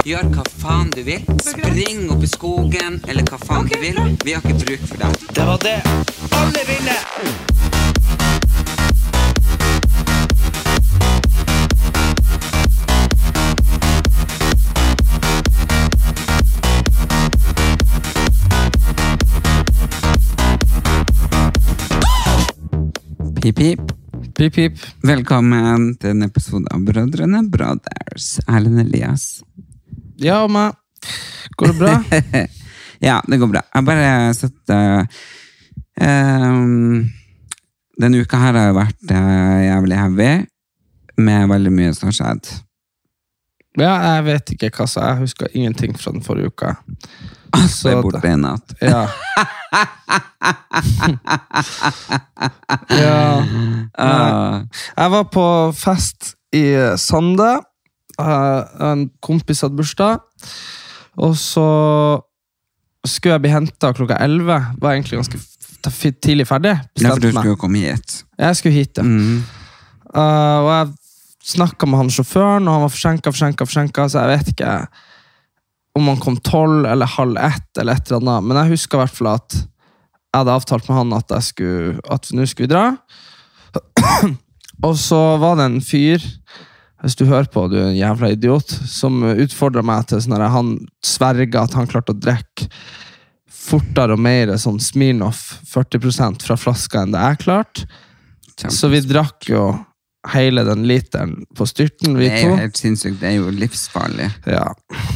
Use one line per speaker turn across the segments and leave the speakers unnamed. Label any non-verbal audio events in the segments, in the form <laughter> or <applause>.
Gjør hva faen du vil. Spring opp i skogen, eller hva faen du vil. Vi har ikke bruk for deg. Det var det alle ville! Pip, pip. Pip, pip. Velkommen til en episode av Brødrene Brothers. Erlend Elias.
Ja, og meg. Går det
<laughs>
bra?
ja, det går bra. Jeg har bare sett eh, ehm, Denne uka her har jo vært eh, jævlig heavy, med veldig mye som har skjedd.
ja, jeg vet ikke hva sa. Jeg husker ingenting fra den forrige uka.
Så
Så
jeg Ah, er
at-
borte i natt.
Sånn.
<laughs>
Ja. ja.
Ah,
Jeg var på fest i Sande. Eh, En kompis hadde bursdag. Og så skulle jeg bli henta klokka 11. Var egentlig ganske f- f- tidlig ferdig.
det er for du
Bestemte
skulle
meg.
jo komme hit.
Jeg skulle hit, ja.
Mm.
Eh, og jeg snakka med han sjåføren, og han var forsinka, forsinka, forsinka, så jeg vet ikke om han kom tolv eller halv ett eller et eller annet, men jeg husker i hvert fall at jeg hadde avtalt med han at jeg skulle, at nå skulle vi dra. <clears throat> og så var det en fyr hvis du hører på, du er en jævla idiot, som utfordra meg til sånn at han sverga at han klarte å drikke fortere og mer sånn Smirnoff 40 fra flaska enn det jeg klarte.
Kjempe.
Så vi drakk jo hele den literen på styrten, vi
Det er jo
to.
helt sinnssykt. Det er jo livsfarlig.
Ja.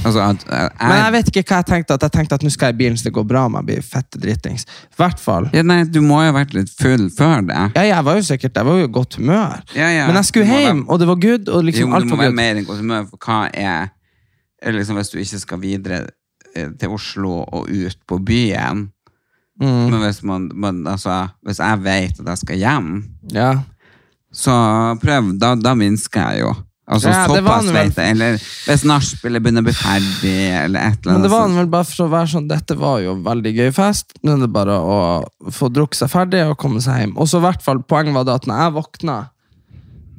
Altså, at, eh,
Men jeg vet ikke hva jeg tenkte. At jeg tenkte at nå skal jeg i bilen, så det går bra om jeg blir fette dritings. I hvert fall.
ja, nei, du må jo ha vært litt full før det.
Ja, jeg var jo sikkert, jeg var jo i godt humør.
Ja, ja.
Men jeg skulle
Du må
hjem,
være-
og det var good, og
Jo,
liksom
men
alt
du må
var
være
good.
mer enn godt humør, for hva er eller liksom Hvis du ikke skal videre eh, til Oslo og ut på byen
Mm.
Men hvis, man, man, altså, hvis jeg vet at jeg skal hjem,
Ja.
så prøv. Da, da minsker jeg jo. Altså,
Ja, det var
såpass
nå vel-
vet jeg. Eller hvis nachspielet begynner å bli ferdig, eller et eller
Men
annet.
det var
sånt.
vel bare for å være sånn Dette var jo veldig gøy fest. Nå er det bare å få drukket seg ferdig og komme seg hjem. Og så i hvert fall poenget var det at når jeg våkna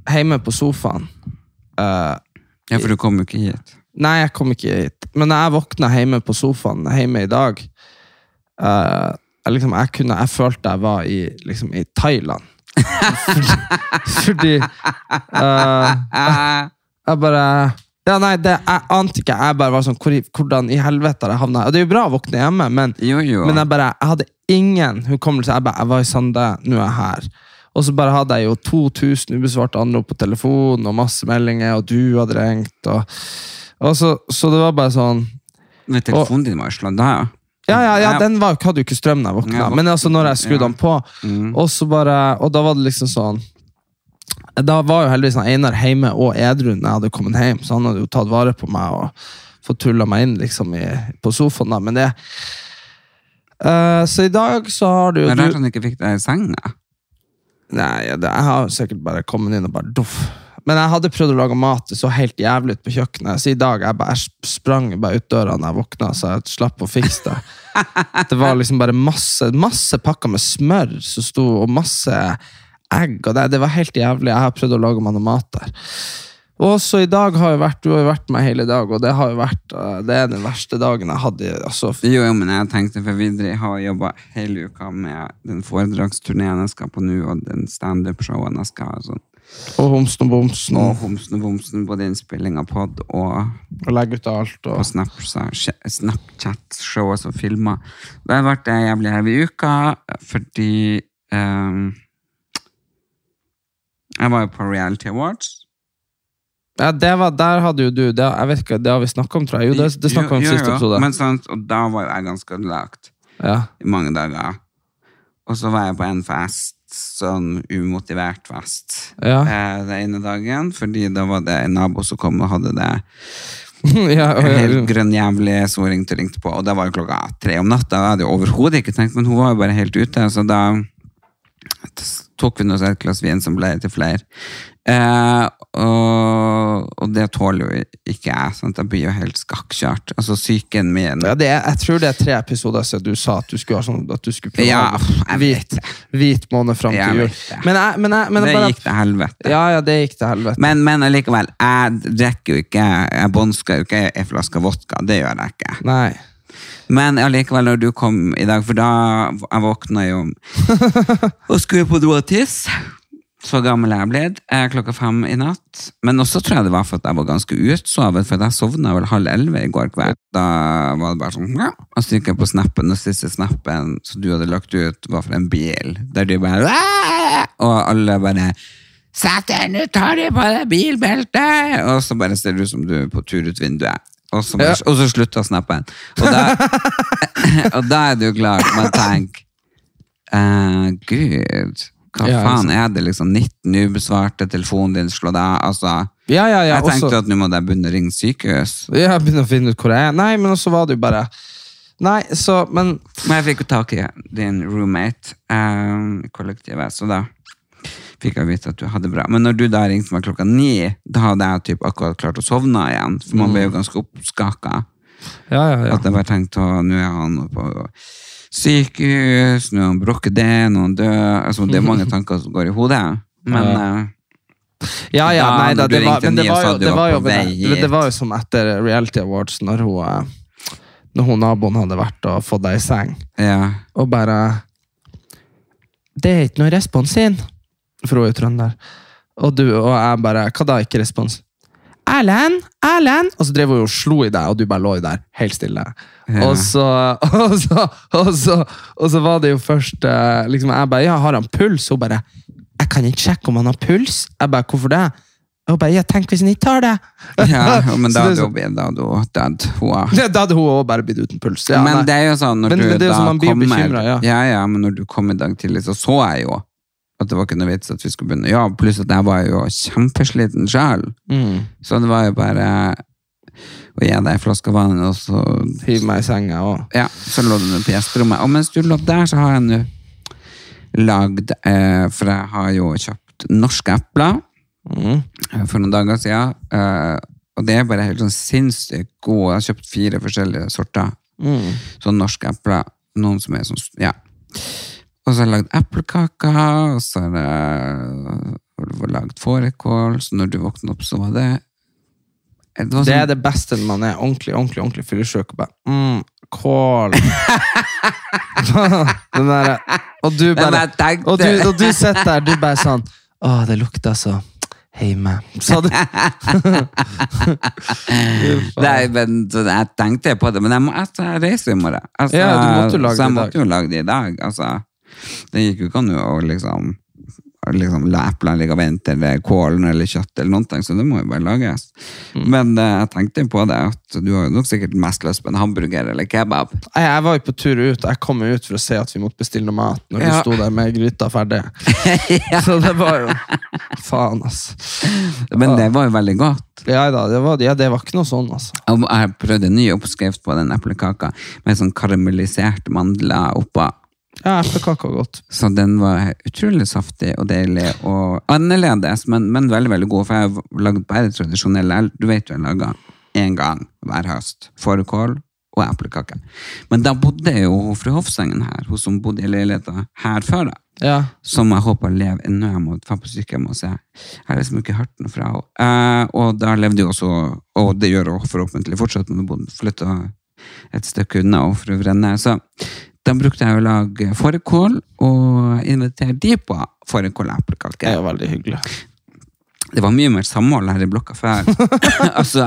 hjemme på sofaen eh,
Ja, for du kom jo ikke hit.
Nei, jeg kom ikke hit. Men når jeg våkna hjemme på sofaen hjemme i dag eh, jeg, liksom, jeg, kunne, jeg følte jeg var i, liksom, i Thailand. <laughs> Fordi eh,
Eh,
Jeg bare ja, nei, det, Jeg ante ikke. Jeg bare var sånn hvor, i- Hvordan i helvete har jeg havna her? Og Det er jo bra å våkne hjemme, men,
jo, jo.
men jeg bare Jeg hadde ingen hukommelse. Jeg bare, jeg var i Sande, nå er jeg her. Og så bare hadde jeg jo 2000 ubesvarte anrop på telefonen, og masse meldinger, og du hadde ringt, og, og så, så det var bare sånn
Men telefonen din var jo slått av.
ja, ja, ja,
Jeg-
den var, hadde jo ikke strøm da jeg
Jeg
våkna.
våkna,
Men altså når jeg skrudde
ja.
den på, og, så bare, og da var det liksom sånn Da var jo heldigvis han Einar hjemme og edru når jeg hadde kommet hjem, så han hadde jo tatt vare på meg og fått tulla meg inn liksom i, på sofaen. da, men det Eh, Så i dag så har du
Det
jo
er
du
rart han ikke fikk deg i senga.
Nei, det, jeg har sikkert bare kommet inn og bare doff. Men jeg hadde prøvd å lage mat, det så helt jævlig ut på kjøkkenet. Så i dag jeg bare, jeg sprang bare ut døra når jeg våkna, så jeg slapp å fikse det. Det var liksom bare masse, masse pakker med smør som sto, og masse egg. og det, det var helt jævlig. Jeg har prøvd å lage meg noe mat der. Og så i dag har jo vært, Du har jo vært med hele dag, og det har jo vært, eh, det er den verste dagen jeg hadde. i- altså, f-
Jo, jo, men jeg tenkte, for vi har jobba hele uka med den foredragsturneen jeg skal på nå, og den standup-showen jeg skal ha. og Sånn.
Og homsen og bomsen
Og
og,
homsen og bomsen, både innspilling av pod og
og legge ut av alt.
på
Og,
Snapsa- Snapchat-showet som filma. Det har vært ei jævlig heavy uke, fordi ehm, Jeg var jo på Reality Awards.
ja, det var, der hadde jo du det, Jeg vet ikke, det har vi snakka om, tror jeg. Jo, det, det snakka vi om
Jo,
i
jo,
siste
jo,
episode.
Men sant, og da var jo jeg ganske ødelagt
Ja.
i mange dager. Og så var jeg på en fest, sånn umotivert fest,
Ja.
eh, den ene dagen, fordi da var det en nabo som kom og hadde det
<laughs> ja, og-
En helt grønn jævlig som hun ringte og ringte på, og det var jo klokka tre om natta. Jeg hadde jo overhodet ikke tenkt, men hun var jo bare helt ute, så da tok vi nå seg et glass vin som ble til flere. Eh, og, og det tåler jo ikke jeg. Sant? Jeg blir jo helt skakkjørt. Altså, psyken min
Ja, det er, jeg tror det er tre episoder siden du sa at du skulle, ha sånn, at du skulle prøve
Ja,
å ha
jeg vet
hvit, hvit måned fram
Jeg
til jul.
vet det.
Men, jeg, men, jeg, men jeg
Det
bare,
gikk til helvete.
Ja, ja, det gikk til helvete.
Men, men allikevel, jeg drikker jo ikke Jeg bånsker jo ikke en flaske vodka. Det gjør jeg ikke.
Nei.
Men allikevel, når du kom i dag, for da jeg våkna jo og skulle på do og tisse Så gammel jeg er blitt. eh, Klokka fem i natt. Men også tror jeg det var for at jeg var ganske utsovet, for jeg sovna vel halv elleve i går kveld. Da var det bare sånn ja. Og så gikk jeg på snappen, og siste snappen som du hadde lagt ut, var fra en bil. Der de bare «Aah!» Og alle bare Sett deg nå, tar de på deg bilbeltet! Og så bare ser det ut som du er på tur ut vinduet. Og så, bare, og så slutta snappen. Og da, <laughs> og da er det jo klart man tenker eh, Gud, hva
Ja,
faen er det liksom 19 ubesvarte, telefonen din slår deg altså,
Ja, ja, ja.
Jeg tenkte
også-
at nå må jeg begynne å ringe sykehus.
Jeg begynner å finne ut hvor jeg er. Nei, men så var det jo bare Nei, så Men
Men jeg fikk jo tak i din roommate eh, i kollektivet, så da fikk jeg vite at du hadde det bra. Men når du da ringte meg klokka ni, da hadde jeg typ akkurat klart å sovne igjen, for man
Mm.
ble jo ganske oppskaka.
Ja, ja, ja.
At jeg bare tenkte å, nå er han på sykehus, nå er han brukket det, nå er han død. Altså, det er
<laughs>
mange tanker som går i hodet. Men eh,
ja, ja
Da,
nei, da,
når du
det var,
ringte
men det
ni,
var
så
jo,
hadde du
det var
vært
jo,
på
det,
vei
det,
hit.
var jo som etter Reality Awards, når hun, eh, når hun naboen hadde vært og fått deg i seng.
eh,
<laughs>
ja.
og bare Det er ikke noe respons inn. For hun er jo trønder. Og du og jeg bare Hva da, ikke respons? Erlend! Erlend! Og så drev hun og slo i deg, og du bare lå der helt stille.
Ja.
Og, så, <laughs> og, så, og, så, og så var det jo først eh, liksom, Jeg bare Ja, har han puls? Hun bare Jeg kan ikke sjekke om han har puls. Jeg bare Hvorfor det? Hun bare Ja, tenk hvis han ikke har det! <laughs>
ja, men da
Så det er
hadde
sånn-
hun blitt- da hadde hun dødd. Hun er-
Ja, Da hadde hun også bare blitt uten puls. Ja, nei.
men det er jo sånn når
Men-
du
men det er jo
da
sånn man blir
kommer
bekymret, ja.
Ja, ja, men når du kom i dag tidlig, så så jeg jo at det var ikke noe vits at vi skulle begynne. Ja, pluss at jeg var jo kjempesliten sjøl.
Mm.
Så det var jo bare å gi deg en flaske vann, og så
Hiv meg i senga og
Ja, så lå du nå på gjesterommet. Og mens du lå der, så har jeg nå lagd eh, For jeg har jo kjøpt norske epler
Mm.
eh, for noen dager siden. Eh, og det er bare helt sånn sinnssykt gode. Jeg har kjøpt fire forskjellige sorter.
Mm.
Sånn norske epler. Noen som er sånn Ja. Og så har jeg lagd eplekaker, og så har jeg lagd fårikål. Så når du våkner opp, så var det det, var
Det er
sånn,
det beste når man er ordentlig ordentlig, ordentlig fyllesyk og bare mm,
<laughs>
Kål. Den derre- og du
men
bare
jeg tenkte-
og du, og du sitter der, du bare sånn Å, det lukter så hjemme.
<laughs>
Sa du?
Nei, men så jeg tenkte på det, men jeg, må, altså, jeg reiser i morgen. Altså,
Ja, du måtte jo lage
så jeg
det i
måtte
dag.
jo lage det i dag. Altså, det gikk jo ikke an å liksom, å liksom la eplene ligge og vente, eller kålen eller kjøtt eller noen ting, så det må jo bare lages.
Mm.
Men eh, jeg tenkte jo på det, at du har jo nok sikkert mest lyst på en hamburger eller kebab.
<laughs> Nei, Jeg var jo på tur ut, og jeg kom jo ut for å se at vi måtte bestille noe mat når
Ja.
du sto der med gryta ferdig. Så det var jo Faen, altså.
<laughs> Men det var jo veldig godt.
Ja da, det var, ja, det var ikke noe sånn, altså.
Og Jeg prøvde en ny oppskrift på den eplekaka, med sånn karamelliserte mandler oppå.
Ja, eplekake var godt.
Så den var utrolig saftig og deilig og annerledes, men, men veldig veldig god. For jeg har lagd bare tradisjonelle el- Du vet jo jeg lager én gang hver høst. Fårikål og eplekake. Men da bodde jo hun fru Hofsengen her, hun som bodde i leiligheta her før. da
Ja.
som jeg håper lever ennå. Jeg må dra på sykehjem og se. Jeg har liksom ikke hørt noe fra henne. Eh, og da levde jo også, og det gjør hun forhåpentlig fortsatt, men hun flytta et stykke unna og fru Vrenne. Så da brukte jeg å lage fårikål, og invitere de på fårikål og
Det
eplekake.
er jo veldig hyggelig.
Det var mye mer samhold her i blokka før. altså,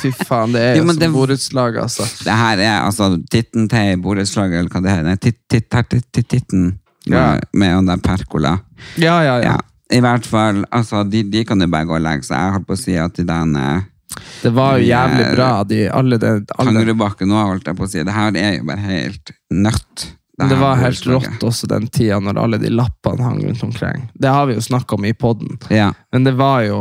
Fy faen, det er
Jo,
jo
men det-
som borettslag, altså.
det her er altså titten til borettslaget, eller hva det her er. Titt- titt- her- titt- titt- Titten
Ja.
med, med den der perkola.
Ja, ja, ja.
Ja, i hvert fall, altså, de, de kan jo bare gå og legge seg. Jeg holdt på å si at i den eh,
Det var jo jævlig bra. De, alle det, alle,
Tangerudbakken nå, holdt jeg på å si, det her er jo bare helt nødt.
det
her
var helt
borettslaget.
rått også den tida når alle de lappene hang rundt omkring. Det har vi jo snakka om i poden.
Ja.
Men det var jo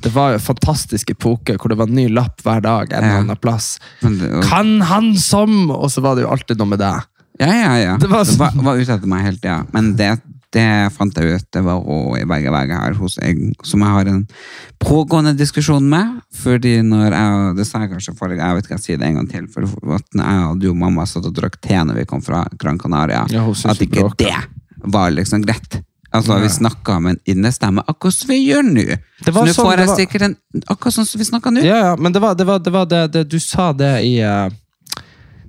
Det var jo en fantastisk epoke hvor det var en ny lapp hver dag. en eller annen plass.
Men det- og-
Kan han som Og så var det jo alltid noe med deg.
Ja, ja, ja.
Det
Det
var
var,
sånn-
var, ute etter meg hele tida. Men det, det fant jeg ut. Det var hun i begge veier her hos jeg, som jeg har en pågående diskusjon med. Fordi når jeg og- Det sa jeg kanskje forrige jeg vet ikke, jeg sier det en gang til. For at når jeg og du og mamma satt og drakk te når vi kom fra Gran Canaria,
Ja, hun syntes
at
det
ikke
bråka.
det var liksom greit. Altså, Vi snakka med en innestemme, akkurat som vi gjør nå.
Det
Så
var
nå
sånn
får
det
jeg
var.
sikkert en Akkurat sånn som vi snakka nå.
Ja, ja, men det var det, var, det, var det, det Du sa det i eh,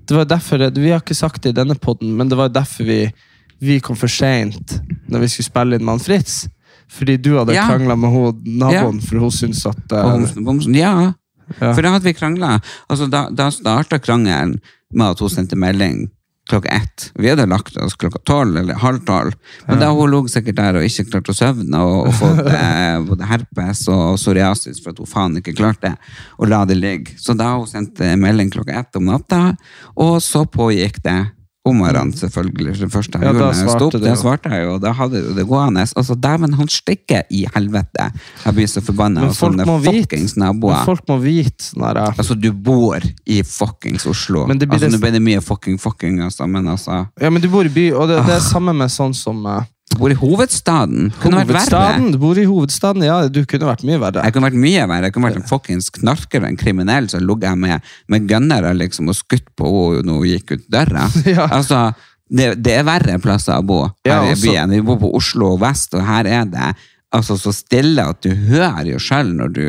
Det var derfor det- Vi har ikke sagt det i denne podden, men det var derfor vi, vi kom for seint når vi skulle spille inn Mann Fritz. Fordi du hadde
Ja.
krangla med hun, naboen, for hun syntes at eh,
På Homsen- på Homsen, ja.
Ja.
For da hadde vi krangla. Altså, da da starta krangelen med at hun sendte melding klokka ett. Vi hadde lagt oss klokka tolv eller halv tolv. Men da hun lå sikkert der og ikke klarte å søvne og, og
<laughs>
fått eh, både herpes og psoriasis for at hun faen ikke klarte det, og la det ligge. Så da hun sendte melding klokka ett om natta, og så pågikk det. Om morgenen, selvfølgelig. for Det første jeg
Mm.
gjorde
Ja, da
når jeg
svarte
sto opp,
du
da
jo.
svarte jeg jo. Da hadde jo det gående. Altså, dæven, han stikker i helvete! Jeg blir så forbanna.
Men
Men folk må vite.
Men folk må vite sånn eh. når jeg
Altså, du bor i fuckings Oslo.
Men det blir
altså,
det-
Nå ble det mye fucking fucking, altså, men altså
Ja, men du bor i by, og det, det er samme med sånn som eh,
Du bor i hovedstaden. Ah. Kunne vært verre.
hovedstaden. Du bor i hovedstaden, ja. Du kunne vært mye verre.
Jeg kunne vært mye verre. Jeg kunne vært en fuckings knarker og en kriminell som lå her med, med gunnere liksom, og skutt på henne når hun gikk ut døra.
<laughs> Ja.
Altså, det, det er verre plasser å bo her
Ja, altså-
i
og så-
byen. Vi bor på Oslo vest, og her er det altså, så stille at du hører jo sjøl når du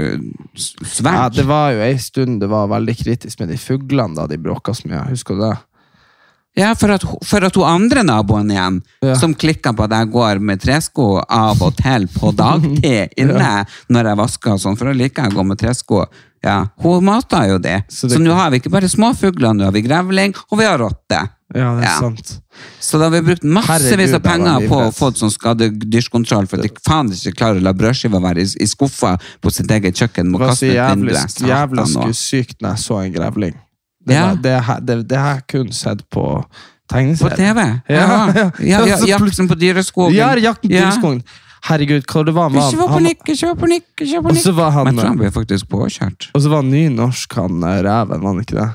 s- svelger.
Ja, det var jo ei stund det var veldig kritisk med de fuglene da de bråka så mye. Husker du det?
Ja, for at, for at hun andre naboen igjen,
Ja.
som klikka på at jeg går med tresko av og til på dagtid
<laughs>
inne når jeg vasker og sånn, for da liker jeg å gå med tresko. Ja, hun mater jo det.
Så
Så,
det-
nå har vi ikke bare småfugler, nå har vi grevling, og vi har rotte.
Ja, det er
Ja.
sant.
Så da har vi brukt massevis
Herregud,
av penger
jeg var
på å
livredd.
få sånn skadedyrskontroll, for at de faen ikke klarer å la brødskiva være i, i skuffa på sitt eget kjøkken.
Det
Må
var
kaste
så
ut
jævlig,
vinduet. Satan
jævla
også.
sku- sykt når jeg så en grevling. Det,
Ja.
var- det, her- det, det har jeg kun sett på
På
tegneserier.
TV? Ja,
Ja,
ja. ja,
<laughs> ja.
jakten på dyreskogen.
Ja, jakten på Dyreskogen. Herregud, hva det var med
Ikke få
han? han?
panikk, ikke få panikk, ikke få
Og
panikk.
så
Men
var
jeg tror han
han
ble faktisk påkjørt.
Og så var han ny norsk, han eh, reven, var han ikke det?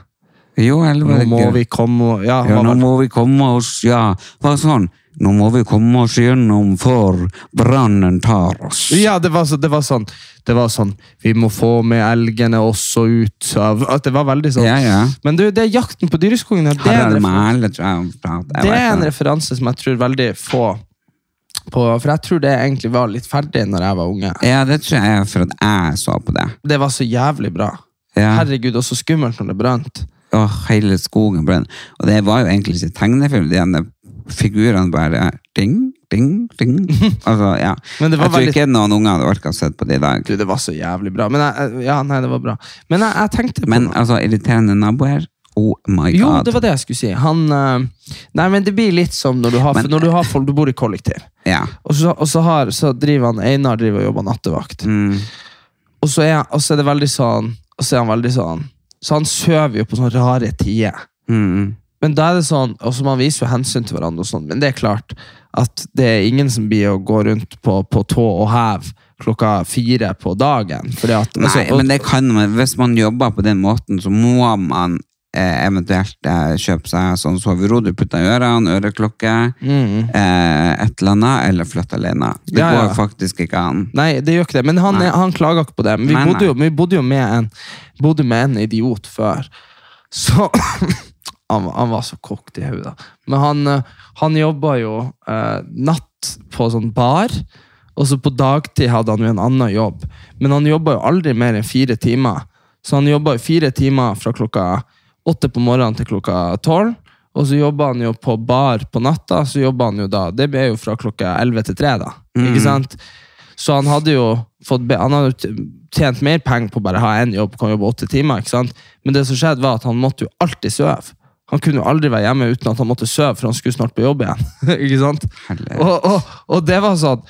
Jo, eller var
Nå
det
må
ikke?
vi komme og Ja,
Ja,
han
nå
var,
må vi komme oss, ja. Hva sånn? Nå må vi komme oss gjennom før brannen tar oss.
ja det, var så, det var sånn Det var sånn Vi må få med elgene også ut av At det var veldig sånn.
Ja, ja.
Men du, det er jakten på Dyreskogen. ja, Det er en
Harald
referanse.
Mæhle, tror jeg han prater. Jeg
Det
vet
er en
ikke.
referanse som jeg tror veldig få på, for jeg tror det egentlig var litt ferdig når jeg var unge.
Ja, det tror jeg er for at jeg så på det.
Det var så jævlig bra.
Ja.
Herregud, og så skummelt når det brant.
Åh, hele skogen brant. Og det var jo egentlig ikke tegnefilm. De ene figurene bare ding, ding, ding.
<laughs>
Altså, ja.
Men det
jeg
var
tror
veldig-
ikke noen unger hadde orket å se på det i dag.
Du, det var så jævlig bra. Men jeg, ja, nei, det var bra. Men jeg, jeg tenkte på
Men
noe.
altså, irriterende naboer. Oh my
Jo,
god.
det var det jeg skulle si. Han, eh, nei, men det blir litt som når du har,
Men-
når du, har folk, du bor i kollektiv.
Ja.
Og så, og så, har, så driver han Einar driver og jobber nattevakt.
Mm.
Og så er, og så er det veldig sånn Og så er han veldig sånn Så han sover jo på sånne rare tider.
Mm.
Men da er det sånn, også man viser jo hensyn til hverandre, og sånn, men det er klart at det er ingen som blir å gå rundt på, på tå og hev klokka fire på dagen. Fordi at,
Nei,
altså, og-
men det kan man. Hvis man jobber på den måten, så må man eh, eventuelt eh, kjøpe seg sånn soverom du putter i ørene, øreklokke,
Mm.
eh, et eller annet, eller flytte alene. Det
Ja, ja.
går faktisk ikke an.
Mm. Nei, det gjør ikke det, men han,
Nei.
han klager ikke på det. Men vi,
Nei,
bodde,
nei.
Jo, vi bodde jo med en, bodde med en idiot før, så <coughs> han, var- han var så kokt i hodet. Men han, eh, han jobba jo eh, natt på sånn bar, og så på dagtid hadde han jo en annen jobb. Men han jobba jo aldri mer enn fire timer. Så han jobba jo fire timer fra klokka åtte på morgenen til klokka tolv. Og så jobba han jo på bar på natta, så jobba han jo da Det er jo fra klokka elleve til tre, da.
Mm.
Ikke sant? Så han hadde jo fått be han hadde jo t- tjent mer penger på å bare ha én jobb, kan jobbe åtte timer. ikke sant? Men det som skjedde var at han måtte jo alltid sove. Han kunne jo aldri være hjemme uten at han måtte sove, for han skulle snart på jobb igjen. <laughs> ikke sant?
Helvete.
Og, og, og det var sånn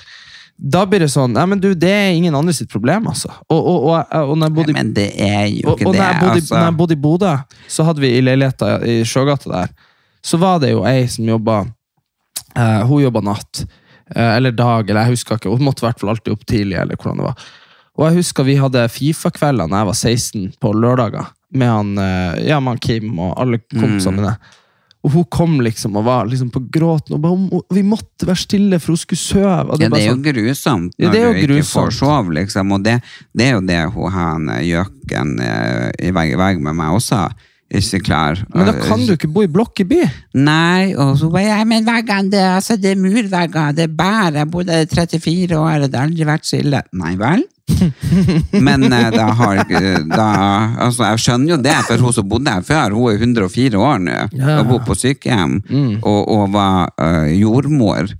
Da blir det sånn Nei, men du, det er ingen andre sitt problem, altså. Og, og, og, og når jeg bodde i
Men det er jo
og,
ikke
og
det.
når jeg bodde, i-
altså.
når jeg bodde i Bodø, så hadde vi i leiligheta i Sjøgata der, så var det jo ei som jobba eh, Hun jobba natt, eh, eller dag, eller jeg husker ikke. Hun måtte i hvert fall alltid opp tidlig, eller hvordan det var. Og jeg husker vi hadde Fifa-kvelder da jeg var 16, på lørdager. Med han, eh, ja, med han Kim og alle
Mm.
kompisene mine. Og hun kom liksom og var liksom på gråten. Og ba, om- vi måtte være stille, for hun skulle sove. Og
Ja, det
bare
er jo
sånn-
grusomt
Ja,
når
det er
du
jo
ikke får
grusomt.
sove, liksom. Og det, det er jo det hun han gjøken eh, i vegg i vegg med meg også ikke klarer.
men da kan du ikke bo i blokk i by!
Nei, og så bare, ja, men veggene, det, er- altså, det er murvegger, det er bær, jeg bodde i 34 år, og det har aldri vært så ille. Nei
<laughs>
vel? Men eh, da har, eh, da, altså, jeg skjønner jo det, for hun som bodde her før, hun er 104 år nå, og bor på sykehjem,
Mm.
og, og var eh, jordmor.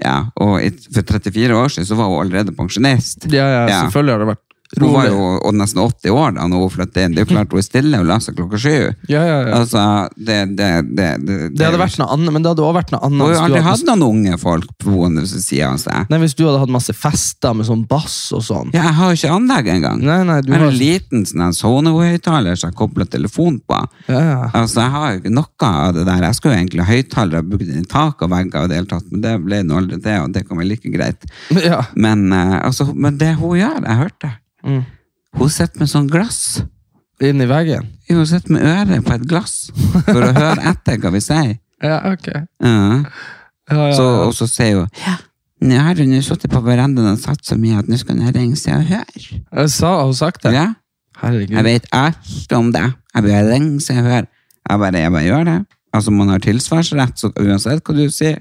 Ja, og i, for 34 år siden så var hun allerede pensjonist.
Ja, ja, selvfølgelig har det vært
Hun var
rolig.
jo og nesten 80 år da når hun flyttet inn. Det er jo klart hun er stille og seg klokka sju.
Ja, ja, ja.
Altså, det, det, det, det,
Det hadde vært noe annet, men det hadde også vært noe annet.
hun har
hvis
jo
du
aldri
hadde-
hatt noen unge folk boende ved siden av seg.
Nei, Hvis du hadde hatt masse fester med sånn bass og sånn.
Ja, jeg har jo ikke anlegg engang.
Nei, nei, du
jeg har
har-
en liten sånn en sonehøyttaler som jeg kobler telefon på.
Ja, ja. <laughs>
Altså, jeg har jo ikke noe av det der. Jeg skulle jo egentlig ha høyttalere bygd inn i tak og vegger, og det hele tatt, men det ble nå aldri det, og det kan være like greit.
Ja.
Men, eh, altså, men det hun gjør, jeg hørte det.
Mm.
Hun sitter med sånn glass.
Inn i veggen.
Hun sitter med øret på et glass for
<laughs>
å høre etter hva vi sier.
Ja, ok.
Ja.
Ja, ja,
Så,
ja.
og så sier hun ja. Nå har hun jo sittet på verandaen og satt så mye at nå skal hun ringe seg og høre.
Jeg sa, har hun sagt det?
Ja.
Herregud.
Jeg vet alt om det. Jeg vil ringe seg og høre. Jeg bare, jeg bare gjør det. Altså, man har tilsvarsrett, så uansett hva du sier.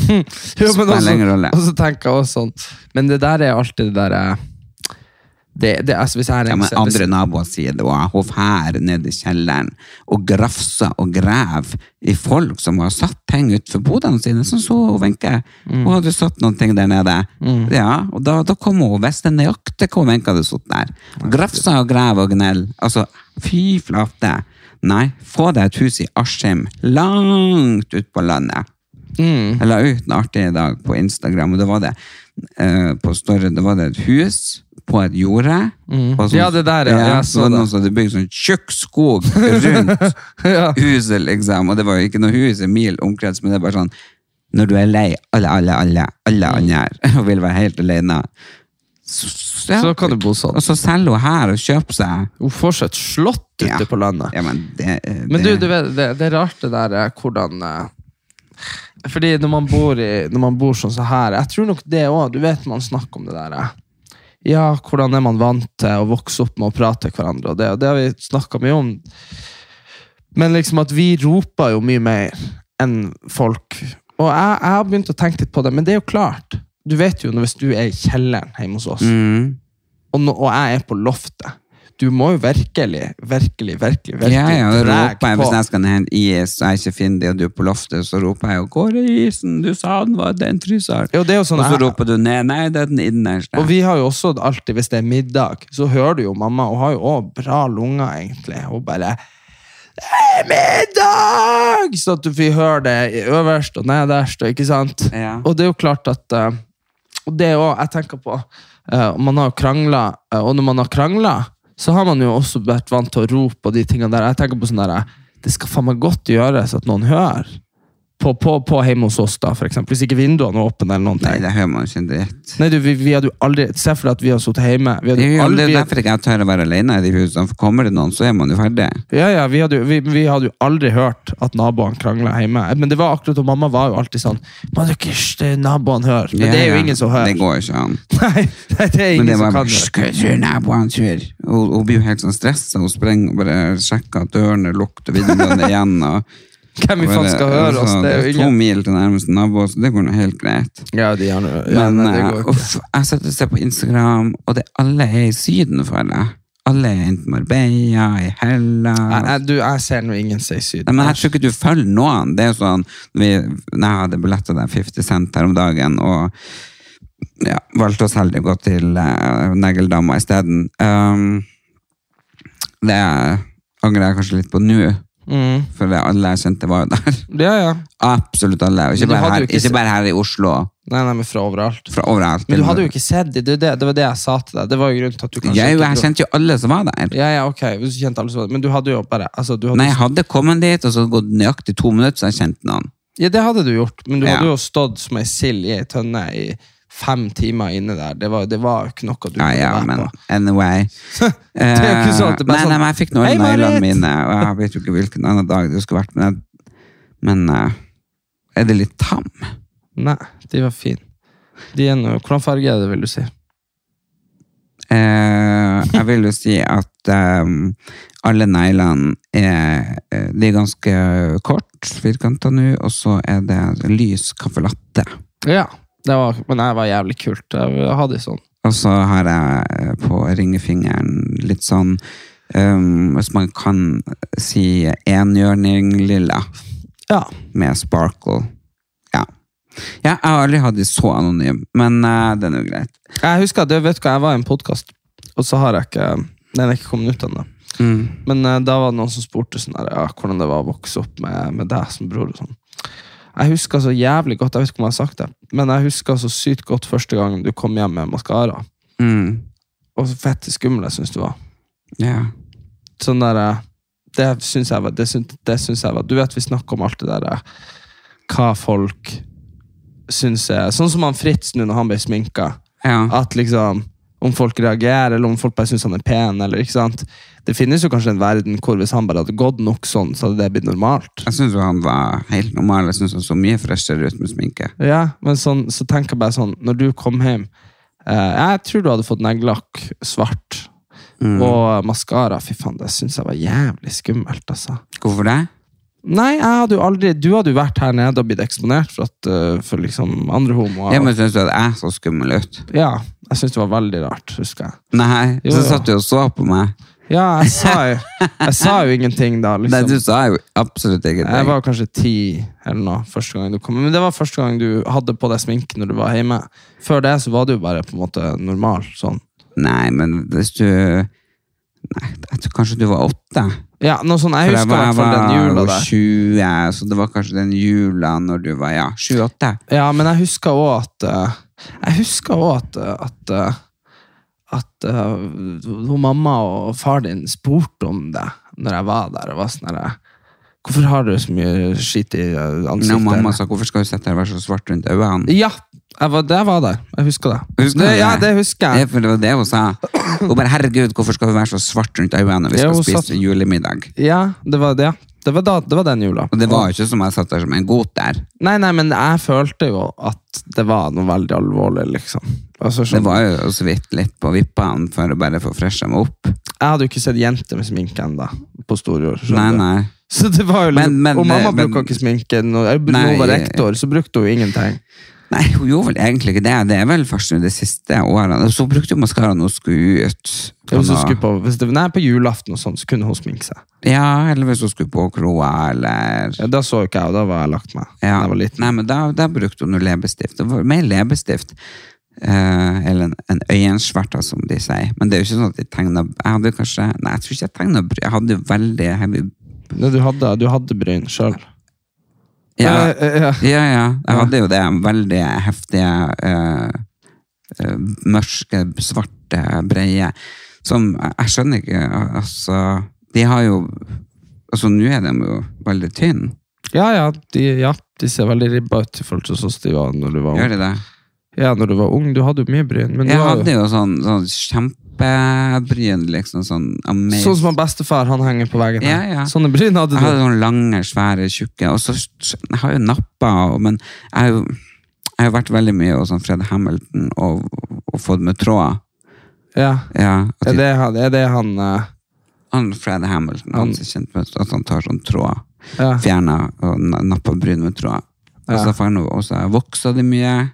Jo, men
Spiller ingen rolle.
også, og så tenker jeg også sånn Men det der er alltid det derre det, det, altså hvis jeg
Ja, men
ringer
andre naboer sier det, og hun fær ned i kjelleren og grafser og graver i folk som har satt ting utenfor bodene sine, sånn så hun Wenche. Hun hadde satt noen ting der nede. Ja, og da, da kom hun og visste nøyaktig hvor Wenche hadde sittet der. Grafsa og grav og gnell. Altså, fy flate. Nei, få deg et hus i Askim, langt ut på landet.
Mm.
Jeg la ut en artig i dag på Instagram, og det var det eh, på story, det var det et hus på et jorde. og
Mm. Ja, det der, ja. Jeg så
så var det
det.
noen som hadde bygd sånn tjukk skog rundt
<laughs> <laughs> Ja.
huset, liksom. Og det var jo ikke noe hus i mil omkrets, men det er bare sånn Når du er lei alle, alle, alle, alle andre <laughs> og vil være helt alene, så,
Så kan du bo sånn.
Og så selger hun her og kjøper seg.
Hun får seg et slott ute
Ja.
på landet.
Ja, men det, eh,
Men du,
det-
du vet, det, det er rart det der eh, hvordan eh, Fordi når man bor, i, når man bor sånn så her Jeg tror nok det òg. Du vet man snakker om det der eh, Ja, hvordan er man vant til å vokse opp med å prate til hverandre, og det, og det har vi snakka mye om. Men liksom at vi roper jo mye mer enn folk. Og jeg, jeg har begynt å tenke litt på det, men det er jo klart. Du vet jo når- hvis du er i kjelleren hjemme hos oss,
mm.
og, nå, og jeg er på loftet. Du må jo virkelig, virkelig, virkelig virkelig
Ja, ja, og
drag
roper jeg hvis jeg skal hente is, og jeg ikke finner det, og du er på loftet, så roper jeg jo 'Hvor er isen?' Du sa den var den fryseren.
Jo, det er jo sånn
og så
jeg-
roper du ned 'Nei, det er den innerste'.
Og vi har jo også alltid, hvis det er middag, så hører du jo mamma. Hun har jo òg bra lunger, egentlig. Hun bare «Det er middag! Så at du får høre det i øverst og nederst, og ikke sant?
Ja.
Og det er jo klart at eh, Og det òg, jeg tenker på eh, og Man har jo krangla, eh, og når man har krangla, så har man jo også vært vant til å rope og de tingene der. Jeg tenker på sånn der eh, Det skal faen meg godt gjøres at noen hører. På, på, på hjemme hos oss, da, for eksempel. Hvis ikke vinduene er åpne eller noen ting.
Nei, det hører man jo ikke en dritt.
Nei, du, vi, vi hadde jo aldri Se for deg at vi har sittet hjemme. Vi hadde
Det er jo
jo
det
aldri,
er jo derfor ikke jeg tør å være alene i de husene, for kommer det noen, så er man jo ferdig.
ja, ja, vi, hadde, jo- vi, vi hadde jo aldri hørt at naboene krangla hjemme. Men det var akkurat, og mamma var jo alltid sånn Man, ikke, hysj, det er naboene hører. Men
Ja,
det er jo
ja.
ingen som hører.
Det går jo ikke an.
<laughs> Nei, nei, det er
Men
ingen
det var
som kan
bare
det.
«Skal jeg tro naboen tror?» Hun hun blir jo helt sånn stressa. Hun sprenger og bare sjekker at dørene lukter, vinduene er igjen.
<laughs>
og...
Hvem vi faen skal høre oss?
Altså,
Det er jo
To
ingen
mil til nærmeste nabo, så det går nå helt greit.
Ja, de har noe- ja,
Men
nei, det
eh,
går ikke.
uff, jeg sitter og ser på Instagram, og det alle er i Syden, føler jeg. Alle er enten i Marbella, i
Nei,
Hellas
nei, du, jeg ser nå ingen si syd.
Nei, men jeg tror ikke du følger noen. Det er jo sånn når vi, når Jeg hadde billetta der 50 cent her om dagen, og ja, valgte oss heldig å gå til uh, Negeldamma isteden. Um, det angrer jeg kanskje litt på nå,
Mm.
for det alle jeg kjente, var jo der.
Ja, ja.
Absolutt alle. og Ikke
Men du
bare,
hadde
her,
jo ikke
ikke
sett-
bare her i Oslo.
Nei, nei, men fra overalt.
Fra overalt.
Men du hadde jo ikke sett dem. Det, det, det var det jeg sa til deg. Det var jo grunnen til at du kanskje
Jeg,
ikke
jeg kjente jo alle som var der.
Ja, ja, ok. Hvis du kjente alle som var- Men du hadde jo bare altså, du hadde
Nei, Jeg hadde kommet dit, og så hadde det gått nøyaktig to minutter, så jeg kjente noen.
Ja, det hadde du gjort, men du
Ja.
hadde jo stått som ei sild i ei tønne i fem timer inne der. Det var, det var jo ikke noe du
Ja, ja,
kunne
men
være på. <laughs>
anyway.
Det er jo ikke sånn at det
Eh,
bare
nei,
sånn,
nei, men jeg fikk noen
«Hei,
av neglene
Marit!»
mine, og jeg vet jo ikke hvilken annen dag det skulle vært, men, jeg, men eh, er det litt tam?
sånn, Nei, de var fine. De er noe, hvordan farge er det, vil du si?
Eh, jeg vil jo si at eh, alle neglene er, eh, de er ganske kort, firkanta nå, og så er det lys caffè latte.
Ja, det var, men det var jævlig kult. Jeg hadde sånn.
Og så har jeg eh, på ringefingeren litt sånn eh, Hvis man kan si enhjørning lilla
Ja.
med sparkle. Ja. ja jeg har aldri hatt de så anonyme, men eh, det er jo greit.
Jeg husker at, vet du hva, jeg var i en podcast, og så har jeg ikke, den er ikke kommet ut enda.
Mm.
Men eh, da var det noen som spurte sånn her, ja, hvordan det var å vokse opp med, med deg som bror. og sånn. Jeg husker så jævlig godt, jeg vet ikke om jeg har sagt det, men jeg husker så sykt godt første gangen du kom hjem med maskara.
Mm.
Og så fett skummel jeg synes du var.
Ja.
Sånn der, eh, det synes jeg var, det synes, det synes jeg var. Du vet, vi snakker om alt det der, eh, hva folk synes er, sånn som han Fritz nå når han ble sminket.
ja.
At liksom om folk reagerer, eller om folk bare syns han er pen. eller ikke sant? Det finnes jo kanskje en verden hvor hvis han bare hadde gått nok sånn, så hadde det blitt normalt.
Jeg syns han var helt normal. Jeg syns han så mye freshere ut med sminke.
Ja, Men sånn, så tenker jeg bare sånn, når du kom hjem eh, Jeg tror du hadde fått neglelakk svart
Mm.
og maskara. Fy faen, det syns jeg var jævlig skummelt, altså.
Hvorfor det?
Nei, jeg hadde jo aldri, du hadde jo vært her nede og blitt eksponert for, at, eh, for liksom andre homoer.
Ja, men Syns du at jeg så skummel ut?
ja, jeg syns det var veldig rart, husker jeg.
Nei,
Jo,
så
jo.
satt du og så på meg.
Ja, jeg sa jo, jeg sa jo ingenting da.
<laughs>
liksom.
Nei, du sa jo absolutt
Jeg
ingenting.
var kanskje ti eller noe første gang du kom. Men det var første gang du hadde på deg sminke når du var hjemme. Før det så var du jo bare på en måte normal. sånn.
Nei, men hvis du Nei, jeg tror kanskje du var åtte.
Ja, noe sånn,
For
Jeg husker i hvert fall den
jo
jula der.
20, så det var kanskje den jula når du var ja, 28.
Ja, men jeg husker òg at eh, Jeg husker også at eh, at, eh, at eh, hun mamma og far din spurte om det når jeg var der. og var sånn her, Hvorfor har du så mye skitt i eh, ansiktet?
Når mamma sa 'hvorfor skal du sitte her og være så svart rundt øynene'?
Ja, jeg var, jeg var der. Jeg husker det.
Husker du
det,
det?
Ja, det husker jeg.
Det, er for det var det hun sa. Hun bare 'herregud, hvorfor skal du være så svart rundt øynene når vi
Ja,
skal
hun
spise
satt-
julemiddag'?
Ja, det var det. Det var, da, det var den jula.
Og det var jo ikke som jeg satt der som en god der.
Nei, nei, men jeg følte jo at det var noe veldig alvorlig, liksom. Altså,
Det
sånn,
var jo så vidt litt på vippene for å bare få fresha meg opp.
Jeg hadde jo ikke sett jenter med sminke ennå, på storjord.
Nei,
skjønner du?
nei.
Så det var jo liksom,
Men- men-
Og mamma
men-
bruker ikke sminke. Når jeg, når
Nei.
hun var rektor, så brukte hun jo ingenting.
Nei, hun gjorde vel egentlig ikke det. Det er vel først nå de siste årene. Og så brukte hun maskara når hun skulle ut. på
Hvis hun
noe-
skulle på, hvis det, nei, på julaften og sånn, så kunne hun sminke seg.
Ja, eller hvis hun skulle på kroa, eller
Ja, da så jo ikke jeg, og da var jeg lagt meg.
ja.
Da Jeg var liten.
Nei, men da, da brukte hun noe leppestift. Det var mer leppestift. eh, eller en, en øyensverta, som de sier. Men det er jo ikke sånn at de tegner Jeg hadde kanskje Nei, jeg tror ikke jeg tegna bry. Jeg hadde jo veldig heavy
Nei, Du, hadde, du hadde bryn sjøl.
Ja,
eh, ja.
ja. ja. Jeg hadde jo det. Veldig heftige eh, eh, mørke, svarte, breie. Som jeg- Jeg skjønner ikke al- Altså, de har jo Altså, nå er de jo veldig tynne.
Ja, ja, de, ja, de ser veldig ribba ut i forhold til sånn som de var når du var
Gjør
ung.
de det?
Ja, når du var ung, du hadde jo mye bryn. Men
Jeg
du har jo-
hadde jo sånn, sånn kjempebryn, liksom sånn amazing.
Sånn som han bestefar han henger på veggen. her.
Ja, ja.
Sånne bryn hadde du.
jeg hadde sånn lange, svære, tjukke, og så jeg har jo nappa, og- men jeg har jo, jeg har jo vært veldig mye hos sånn Fred Hamilton og, og fått med tråder.
Ja.
Ja, at
Er,
de-
det han, er det han eh,
han Fred Hamilton, han
Han-
som er kjent med at han tar sånn tråd,
Ja.
fjerner og na- napper bryn med tråd. Og
Ja.
så får han jo også vokser de mye.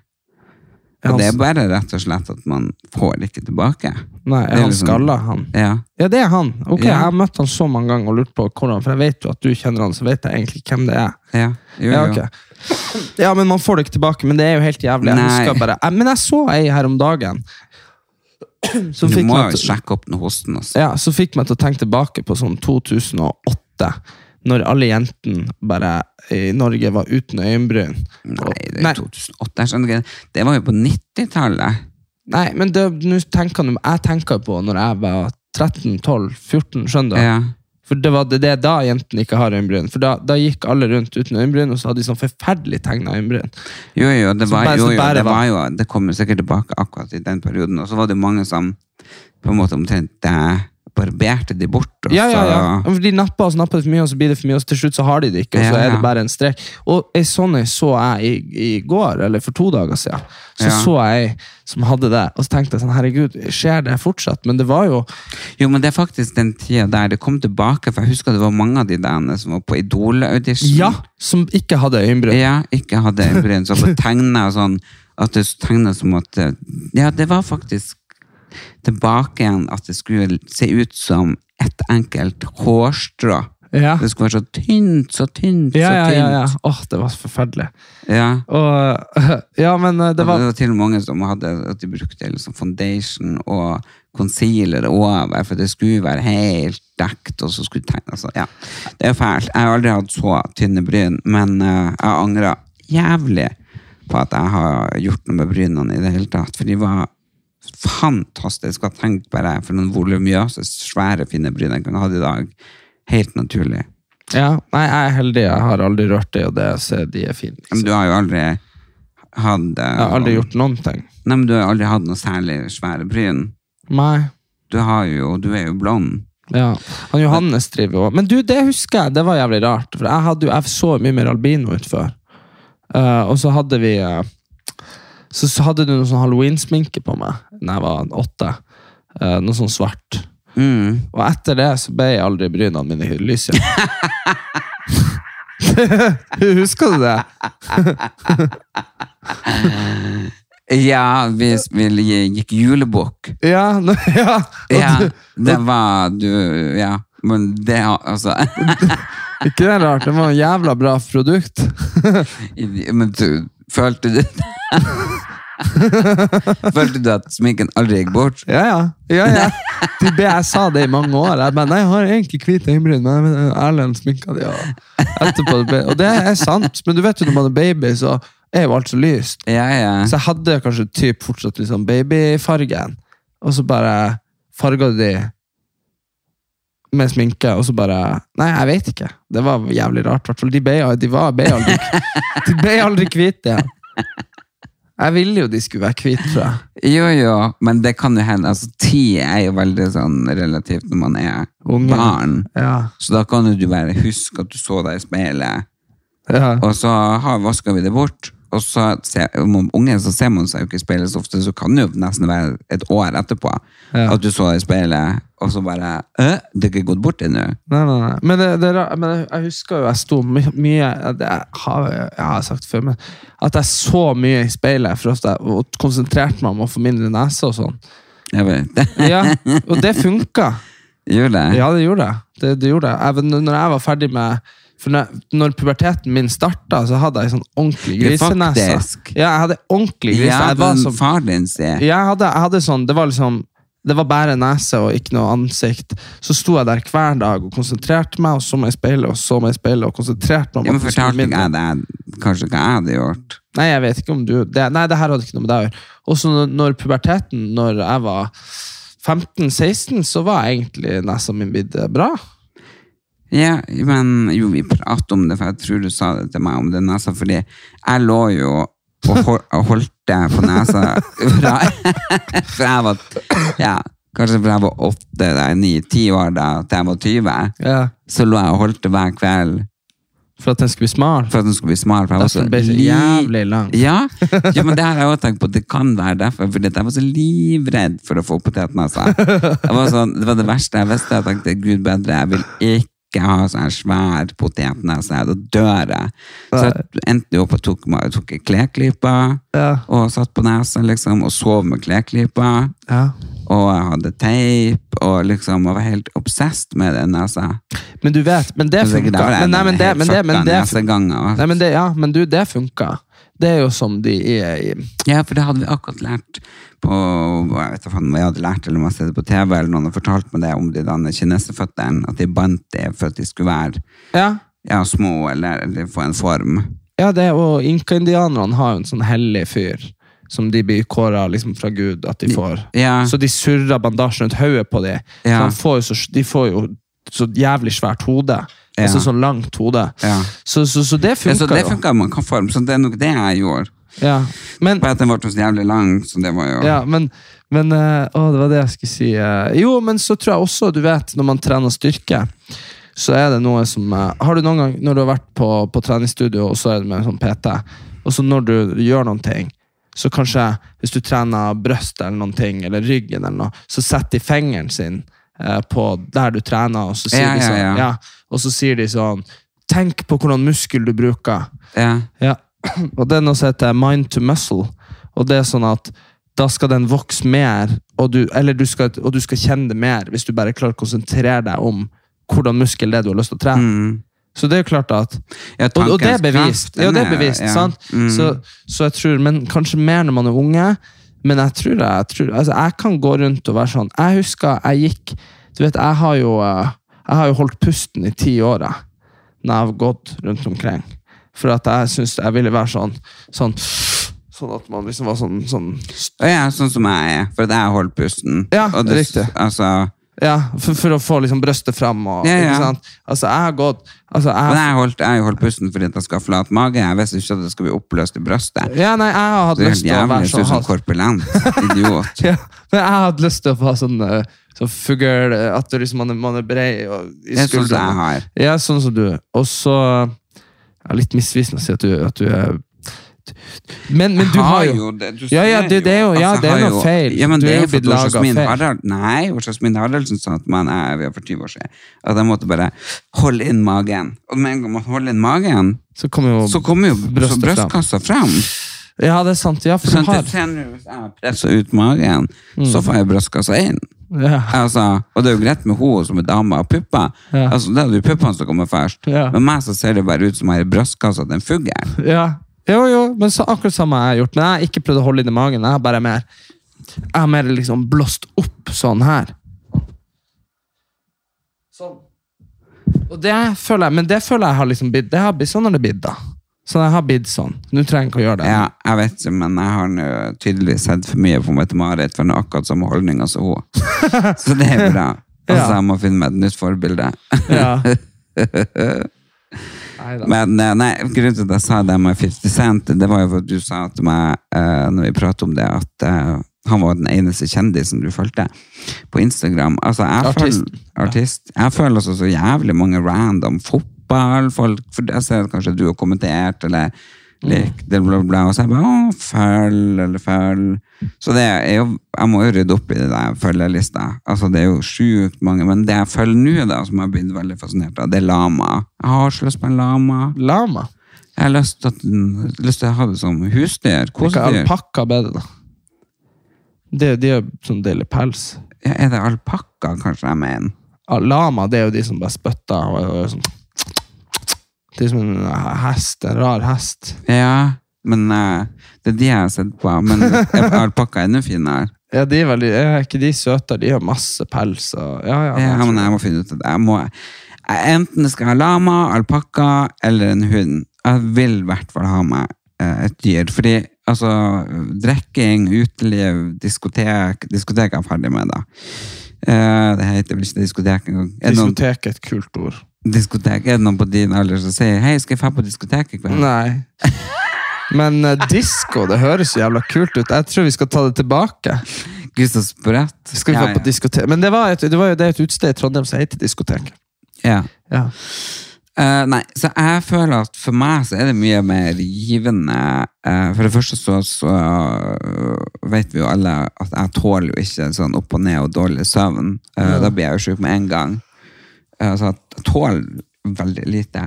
Og
han,
det er bare rett og slett at man får det ikke tilbake.
Nei,
det er
er han
liksom-
skalla, han?
Ja.
Ja, det er han. Ok,
Ja.
Jeg har møtt han så mange ganger og lurt på hvordan, for jeg vet jo at du kjenner han, så vet jeg egentlig hvem det er.
Ja, jo,
Ja,
jo.
ok. ja, men man får det ikke tilbake, men det er jo helt jævlig. Jeg
Nei.
husker bare, jeg, men jeg så ei her om dagen. Som
Du
fikk
må
meg
jo
til-
sjekke opp den hosten. Altså.
ja, så fikk meg til å tenke tilbake på sånn 2008, når alle jentene bare i Norge var uten øyenbryn.
Nei, det
Nei.
er 2008. Jeg skjønner ikke. det. Det var jo på 90-tallet.
Nei, men det, nå tenker jeg, jeg tenker på når jeg var 13, 12, 14, skjønner du?
Ja.
For det, var, det det er da jentene ikke har øyenbryn. For da, da gikk alle rundt uten øyenbryn, og så hadde de sånn forferdelig tegna øyenbryn.
Jo, jo, det
Som
var,
bare-
jo,
som
jo,
bare
det
var.
var jo Det kom jo sikkert tilbake akkurat i den perioden. Og så var det jo mange som på en måte omtrent eh, barberte de bort. Og
Ja, ja, ja.
så,
For de napper og så napper de for mye, og så blir det for mye, og så til slutt så har de det ikke, og så
Ja,
er
ja.
det bare en strek. Og ei sånn ei så jeg i, i går, eller for to dager siden. Så
Ja.
så jeg ei som hadde det, og så tenkte jeg sånn, herregud, skjer det fortsatt? Men det var jo
Jo, men det er faktisk den tida der det kom tilbake, for jeg husker det var mange av de der som var på Idol-audition.
Ja, som ikke hadde øyenbryn.
Ja, ikke hadde øyenbryn. Så på tegna og sånn, at det tegna som at eh, Ja, det var faktisk tilbake igjen at det skulle se ut som ett enkelt hårstrå.
Ja.
Det skulle være så tynt, så tynt,
Ja, ja,
så tynt.
ja, ja. Åh, det var forferdelig.
Ja.
Og, <laughs> ja, men eh, det
Det var,
var
til og med mange som hadde at de brukte liksom foundation og concealer over, for det skulle være helt dekt, og så skulle tegne. Altså, ja. Det er fælt. Jeg har aldri hatt så tynne bryn, men eh, jeg angrer jævlig på at jeg har gjort noe med brynene i det hele tatt, for de var fantastisk. Jeg tenkte bare for noen volumøse, svære, fine bryn jeg kan ha i dag. Helt naturlig.
ja, Nei, jeg er heldig. Jeg har aldri rørt det, og det ser de er fine.
Men
Liksom.
du har jo aldri hatt eh,
Jeg har aldri gjort noen ting.
Nei, men du har aldri hatt noe særlig svære bryn.
Nei.
du har jo, du er jo blond.
Ja. Han Johannes driver jo Men du, det husker jeg. Det var jævlig rart. For jeg, hadde jo, jeg så mye mer albino ut før. Eh, og så hadde vi eh, så, så hadde du noe sånn halloween-sminke på meg da jeg var åtte. Eh, noe sånn svart.
Mm.
Og etter det så ble jeg aldri brynene mine lyse. <laughs> husker du det?
Ja, vi, vi gikk julebukk.
Ja. <laughs> nå- ja. Og
Ja,
Du,
<laughs> det var du Ja, men det altså <laughs>
ikke det er rart? Det var en jævla bra produkt. <laughs>
Men du, følte du <laughs> Følte du at sminken aldri gikk bort?
Ja, ja. ja, ja. De be, jeg sa det i mange år. Jeg bare, nei, jeg har egentlig hvite øyenbryn, men men Erlend sminka de. Og, etterpå, det ble- og det er sant, men du vet jo når man er baby, så er jo alt så lyst.
Ja, ja.
Så jeg hadde kanskje typ fortsatt liksom babyfargen, og så bare farga de med sminke, og så bare Nei, jeg vet ikke. Det var jævlig rart. Hvertfall. De ble, de var, ble aldri, de ble aldri hvite igjen. Jeg ville jo de skulle være hvite, tror jeg.
Jo, jo, men det kan jo hende. Altså, Tid er jo veldig sånn relativt når man er
Unge.
barn.
Ja.
Så da kan jo du bare huske at du så deg i speilet.
Ja.
Og så har vaska vi det bort. Og så ser, om man er unge så ser man seg jo ikke i speilet så ofte, så kan det jo nesten være et år etterpå
Ja.
at du så deg i speilet, og så bare «Øh, Det er ikke gått bort ennå.
Nei, nei, nei. Men, det, det, er ra- men jeg- jeg husker jo jeg sto my mye det har, Jeg har sagt det før, men at jeg så mye i speilet for ofte, og konsentrerte meg om å få mindre nese og sånn.
Jeg vet det.
Ja, Og det funka!
Gjorde det?
Ja, det gjorde det. det, det gjorde det. Jeg, vet, når jeg var ferdig med for når, når puberteten min starta, så hadde jeg sånn ordentlig
Ja,
grisenese.
faktisk.
Ja, jeg hadde ordentlig grise.
Ja,
jeg var
den
så
far din sier.
jeg hadde, jeg hadde sånn, det var liksom det var bare nese og ikke noe ansikt. Så sto jeg der hver dag og konsentrerte meg, og så meg i speilet og så meg i speilet. og konsentrerte meg om
Ja, men
at det skulle
fortalte
bli
ikke
mindre.
jeg deg kanskje hva jeg hadde gjort?
Nei, jeg vet ikke om du det, Nei, det her hadde ikke noe med deg å gjøre. Og så når, når puberteten, når jeg var 15-16, så var egentlig nesa mi blitt eh, bra.
Ja, men jo, vi pratet om det, for jeg tror du sa det til meg om den nesa, fordi jeg lå jo og hol- og holdt deg på nesa fra, <laughs> fra jeg var ja, kanskje fra jeg var åtte, da, ni, ti år da, til jeg var 20, så lå jeg og holdt det hver kveld
For at den skulle bli smal.
for at den skulle bli smal. for jeg var så
Derfor ble den
li-
jævlig lang.
Ja, jo, men det har jeg også tenkt på, det kan være derfor, fordi at jeg var så livredd for å få potetnesa. Jeg var sånn, det var det verste jeg visste, jeg tenkte, gud bedre, jeg vil ikke ha sånn her svær potetnese, da dør jeg. Så jeg endte jo opp og tok, meg- tok kleklypa,
Ja.
og satt på nesa liksom, og sov med kleklypa,
Ja.
og jeg hadde teip, og liksom, jeg var helt obsessed med den nesa.
Men du vet, men det
Så sikkert
funka.
der var jeg
Men, nei, men det,
helt
men det, men
fucka
det,
neseganger, og-
nei, men det, ja, men du, det funka. Det er jo som de er i
Ja, for det hadde vi akkurat lært på Jeg vet ikke faen om jeg hadde lært eller om jeg har sett det på TV, eller noen har fortalt meg det om de denne kineserføttene, at de bandt det for at de skulle være
Ja,
ja, små eller, eller få en form.
Ja, det, og inka-indianerne har jo en sånn hellig fyr som de blir kåra liksom fra Gud at de får.
Ja.
Så de surrer bandasjen rundt hodet på dem.
Ja.
De får jo, så, de får jo så jævlig svært hode.
Ja.
Altså sånn langt hode.
Ja.
Så, så, så det
Ja, så
funka
det
jo.
funka i mannkantform, så det er nok det jeg gjorde.
Ja. Men,
Bare at den ble så jævlig lang, så det var jo
ja, men, men eh, Å, det var det jeg skulle si. eh. Jo, men så tror jeg også, du vet, når man trener styrke, så er det noe som eh, Har du noen gang, når du har vært på, på treningsstudio, og så er det med sånn PT, og så når du gjør noen ting, så kanskje hvis du trener brøst eller noen ting, eller ryggen eller noe, så setter de fingeren sin eh, på der du trener, og så sier
Ja, ja,
de sånn,
ja.
ja, og så sier de sånn Tenk på hvordan muskel du bruker.
Ja.
Ja, <clears throat> og det er noe som heter mind to muscle. Og det er sånn at da skal den vokse mer, og du, eller du skal, og du skal kjenne det mer hvis du bare klarer å konsentrere deg om hvordan muskel det er du har lyst til å trene.
Mm.
Så det er jo klart at
Ja,
og, og det er
tankens
bevist.
kraft, den
Ja, det er
er-
bevist,
ja.
sant?
Mm.
Så, så jeg tror, men kanskje mer når man er unge. Men jeg tror jeg, jeg tror, altså jeg kan gå rundt og være sånn Jeg husker jeg gikk Du vet, jeg har jo, eh, jeg har jo holdt pusten i ti år, jeg. Når jeg har gått rundt omkring. For at jeg syns jeg ville være sånn Sånn, sånn at man liksom var sånn, sånn
Og jeg er sånn som jeg er, for at jeg holder pusten.
Ja,
og det,
riktig.
Altså,
Ja, for, for å få liksom brøstet fram og
Ja, ja.
Ikke sant? Altså, jeg har gått altså jeg,
men jeg holdt, jeg holdt pusten fordi at jeg skal ha flat mage. Jeg visste ikke at det skal bli oppløst i brøstet.
Ja, nei, jeg har hatt
Det er
lyst
helt
til å
jævlig.
være
Jeg ser
sånn
ut som
halvt-
korpulent
<laughs>
idiot.
Ja, men jeg hadde lyst til å ha sånn, eh, sånn fugl eh, At du liksom, man, er, man er brei og, i
Det er sånn som jeg
skuldrene.
har.
Ja, sånn som du. Og så ja, Litt misvisende å si at du, at du er men, men du
Jeg
har jo
det. Du
Ja, ja,
ser
det- det er jo- ja,
Altså,
det er
jeg har
noe feil.
Ja, men
Du
det
er
er
jo
jo
blitt
fordi
laget
Jasmin
feil.
Harald, nei, Jasmin Haraldsen sa at man er vi er for 20 år siden, at jeg måtte bare holde inn magen. Og med en gang man holder inn magen,
Så kommer jo
så kommer jo
brøstet
så brøstkassa fram.
Ja, det er sant. Ja, for
Sånn
du har Mm.
at jeg trener, hvis jeg presser ut magen, så får jeg brøstkassa inn.
ja.
Altså, og det er jo greit med henne som er dame og pupper.
Ja.
Altså, det er jo puppene som kommer først.
Ja.
Men meg så ser det bare ut som jeg har i brystkassa til en fugl.
ja. Jo, jo, men så akkurat samme jeg har gjort. Men jeg har ikke prøvd å holde inn i magen. Jeg har bare mer Jeg har mer liksom blåst opp sånn her. Sånn. Og det føler jeg, men det føler jeg har liksom blitt Det har blitt sånn har det blitt, da. Så jeg har blitt sånn. Nå trenger jeg ikke å gjøre det.
Ja, jeg vet ikke, men jeg har nå tydeligvis sett for mye på Mette-Marit, for hun har akkurat samme holdninga som hun. Så det er bra. Altså,
Ja.
jeg må finne meg et nytt forbilde.
<laughs> Ja. Neida.
Men eh, nei, grunnen til at jeg sa det med 50 Cent, det var jo for at du sa til meg, eh, når vi pratet om det, at eh, han var den eneste kjendisen du fulgte på Instagram. Altså, jeg
Artisten.
Føler, artist. Jeg føler altså så jævlig mange random fotballfolk, for jeg ser kanskje du har kommentert, eller likt, eller bla, bla, bla, og så er jeg bare, å, følg, eller følg. Så det er jo, jeg må jo rydde opp i det der følgelista. Altså, det er jo sjukt mange, men det jeg følger nå da, som jeg har blitt veldig fascinert av, det er lama. Jeg har så lyst på en lama.
Lama.
Jeg har lyst til, at, den- lyst til å ha det som husdyr.
Ikke
Kosedyr.
alpakka bedre, da. Det, de er jo sånn deilig pels.
Ja, er det alpakka, kanskje jeg mener?
Ah, Lama, det er jo de som bare spytter og, og, sånn De som en hest, en rar hest.
Ja, men eh, det er de jeg har sett på.
<laughs>
Men alpakka er enda finere.
Ja, de er veldig Er ikke de søtere? De har masse pels og Ja, ja.
Ja,
jeg
men
tror-
jeg må finne ut av det. Jeg må, jeg- enten skal jeg ha lama, alpakka eller en hund. Jeg vil i hvert fall ha meg eh, et dyr. Fordi altså, drikking, uteliv, diskotek Diskotek er jeg ferdig med, da. Eh, det heter vel ikke diskotek engang. Er det noen-
Diskotek er et kult ord.
diskotek? Er det noen på din alder som sier 'hei, skal jeg dra på diskotek i kveld'?
Nei. Men uh, disko, det høres så jævla kult ut. Jeg tror vi skal ta det tilbake.
Gud, så sprøtt.
Skal vi
ja,
få på diskotek Men det var, et, det var jo det et utested i Trondheim som heter diskotek.
ja. ja.
Ja.
Eh, nei, så jeg føler at for meg så er det mye mer givende. Eh, for det første så, så eh, vet vi jo alle at jeg tåler jo ikke sånn opp og ned og dårlig søvn. Eh, Da blir jeg jo syk med en gang. Eh, så at jeg tåler veldig lite.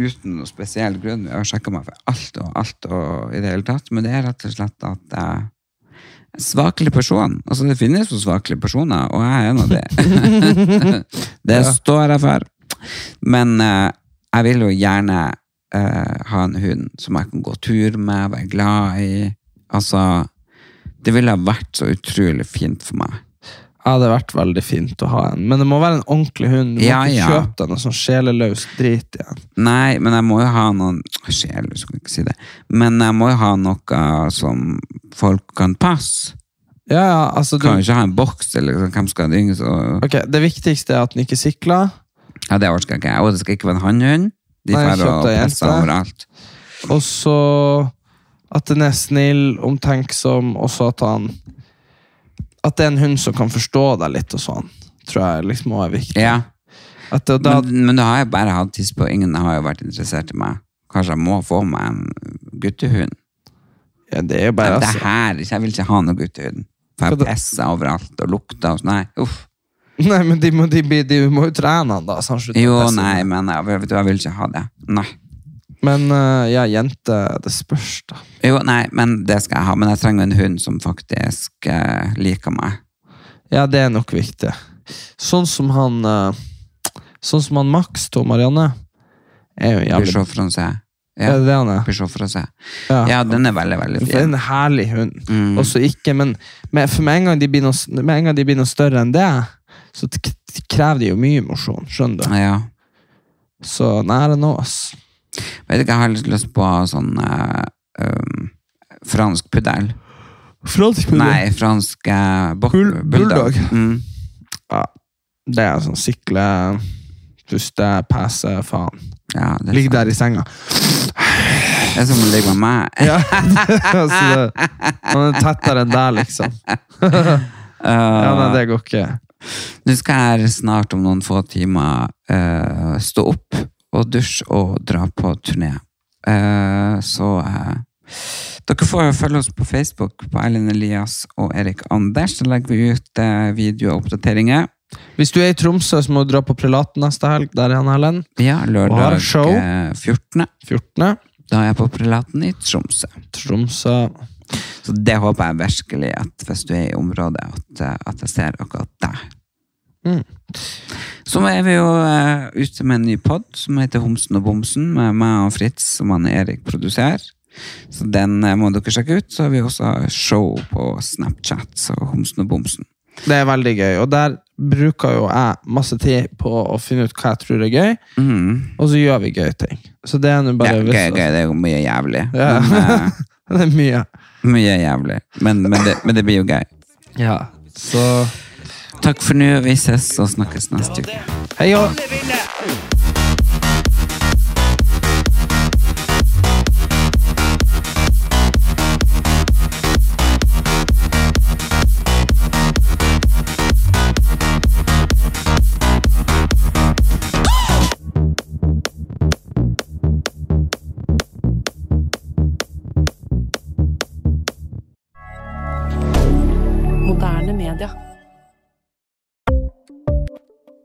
Uten noe spesiell grunn. Jeg har sjekka meg for alt og alt og i det hele tatt. Men det er rett og slett at jeg er en svakelig person. Altså det finnes jo svakelige personer, og jeg er en av de. det <laughs> står jeg for. Men eh, jeg vil jo gjerne eh, ha en hund som jeg kan gå tur med, være glad i. Altså, det ville ha vært så utrolig fint for meg.
Ja, det hadde vært veldig fint å ha en. Men det må være en ordentlig hund. Du må
Ja,
ikke
ja.
kjøpe deg noe sånn sjeleløs drit igjen.
Nei, men jeg må jo ha noen Sjel, du skal ikke si det. Men jeg må jo ha noe som folk kan passe.
Ja, ja, altså du,
Kan jo ikke ha en boks, eller liksom, hvem skal dynge så
Ok, Det viktigste er at den ikke sikler.
Ja, det orker ikke jeg. Og det skal ikke være en hannhund. De
Nei,
drar
kjøpt
og
av
presser
jente.
overalt.
Og så at den er snill, omtenksom, og så at han At det er en hund som kan forstå deg litt og sånn, tror jeg liksom også er viktig.
Ja,
At det, da,
men, men da har jeg bare hatt tiss på. Ingen har jo vært interessert i meg. Kanskje jeg må få meg en guttehund.
ja, det er jo
Nei,
bare
men det
altså,
her, ikke- jeg vil ikke ha noe guttehund. For
Hva
jeg
da?
presser overalt og lukter og sånn. Nei, uff.
<laughs> Nei, men de må, de, blir- de må jo trene han, da. Så han slutter å
Jo,
pisse.
nei, men jeg, vet du, jeg vil ikke ha det. Nei.
Men eh, ja, jente Det spørs, da.
Jo, nei, men det skal jeg ha. Men jeg trenger en hund som faktisk eh, liker meg.
Ja, det er nok viktig. Sånn som han eh, Sånn som han Max to, Marianne, er jo jævlig
Bichot Francais.
Er
Ja,
det det han er?
Bichot Francais.
Ja.
Ja, den er veldig, veldig
For
fin.
en herlig hund.
Mm.
Også ikke, men men for med en, gang de blir noe, med en gang de blir noe større enn det, så t- k- krever de jo mye mosjon. Skjønner du?
Ja.
Så nære nå, ass.
Vet ikke, jeg har litt lyst på sånn eh, um, fransk puddel. Nei, fransk eh, bok-
Bull- bulldog.
Mm.
Ja, det er sånn sikle, puste, pese, faen.
Ja, det er
Ligg
sant.
der i
<laughs>
senga.
Det er som å ligge med meg.
Ja. altså, det- han er tettere enn deg,
<laughs>
liksom. Ja,
Ah.
nei, det går ikke.
Nå skal jeg snart om noen få timer eh, stå opp og dusje og dra på turné. Eh, så eh, dere får følge oss på Facebook på Erlend Elias og Erik Anders. Så legger vi ut eh, videoer og oppdateringer.
Hvis du er i Tromsø, så må du dra på Prelaten neste helg. Der er han Helen.
Ja,
Og har
lørdag
et show.
eh, 14.
14.
Da er jeg på Prelaten i Tromsø.
Tromsø.
Så det håper jeg virkelig at hvis du er i området, at, eh, at jeg ser akkurat deg.
Mm.
Så er vi jo eh, ute med en ny pod som heter Homsen og Bomsen, med meg og Fritz, som han Erik produserer. Så den eh, må dere sjekke ut. Så har vi også show på Snapchat, så Homsen og Bomsen.
Det er veldig gøy, og der bruker jo jeg masse tid på å finne ut hva jeg tror er gøy,
Mm.
og så gjør vi gøye ting. Så det er nå
Ja,
bare
gøy,
hvis-
gøy, det er jo mye jævlig.
Ja.
Men, eh,
<laughs> Det er mye.
mye jævlig. Men, men, det, men det blir jo gøy.
Ja. Så
Takk for nå. Vi ses og snakkes neste uke.
hei og
Moderne media.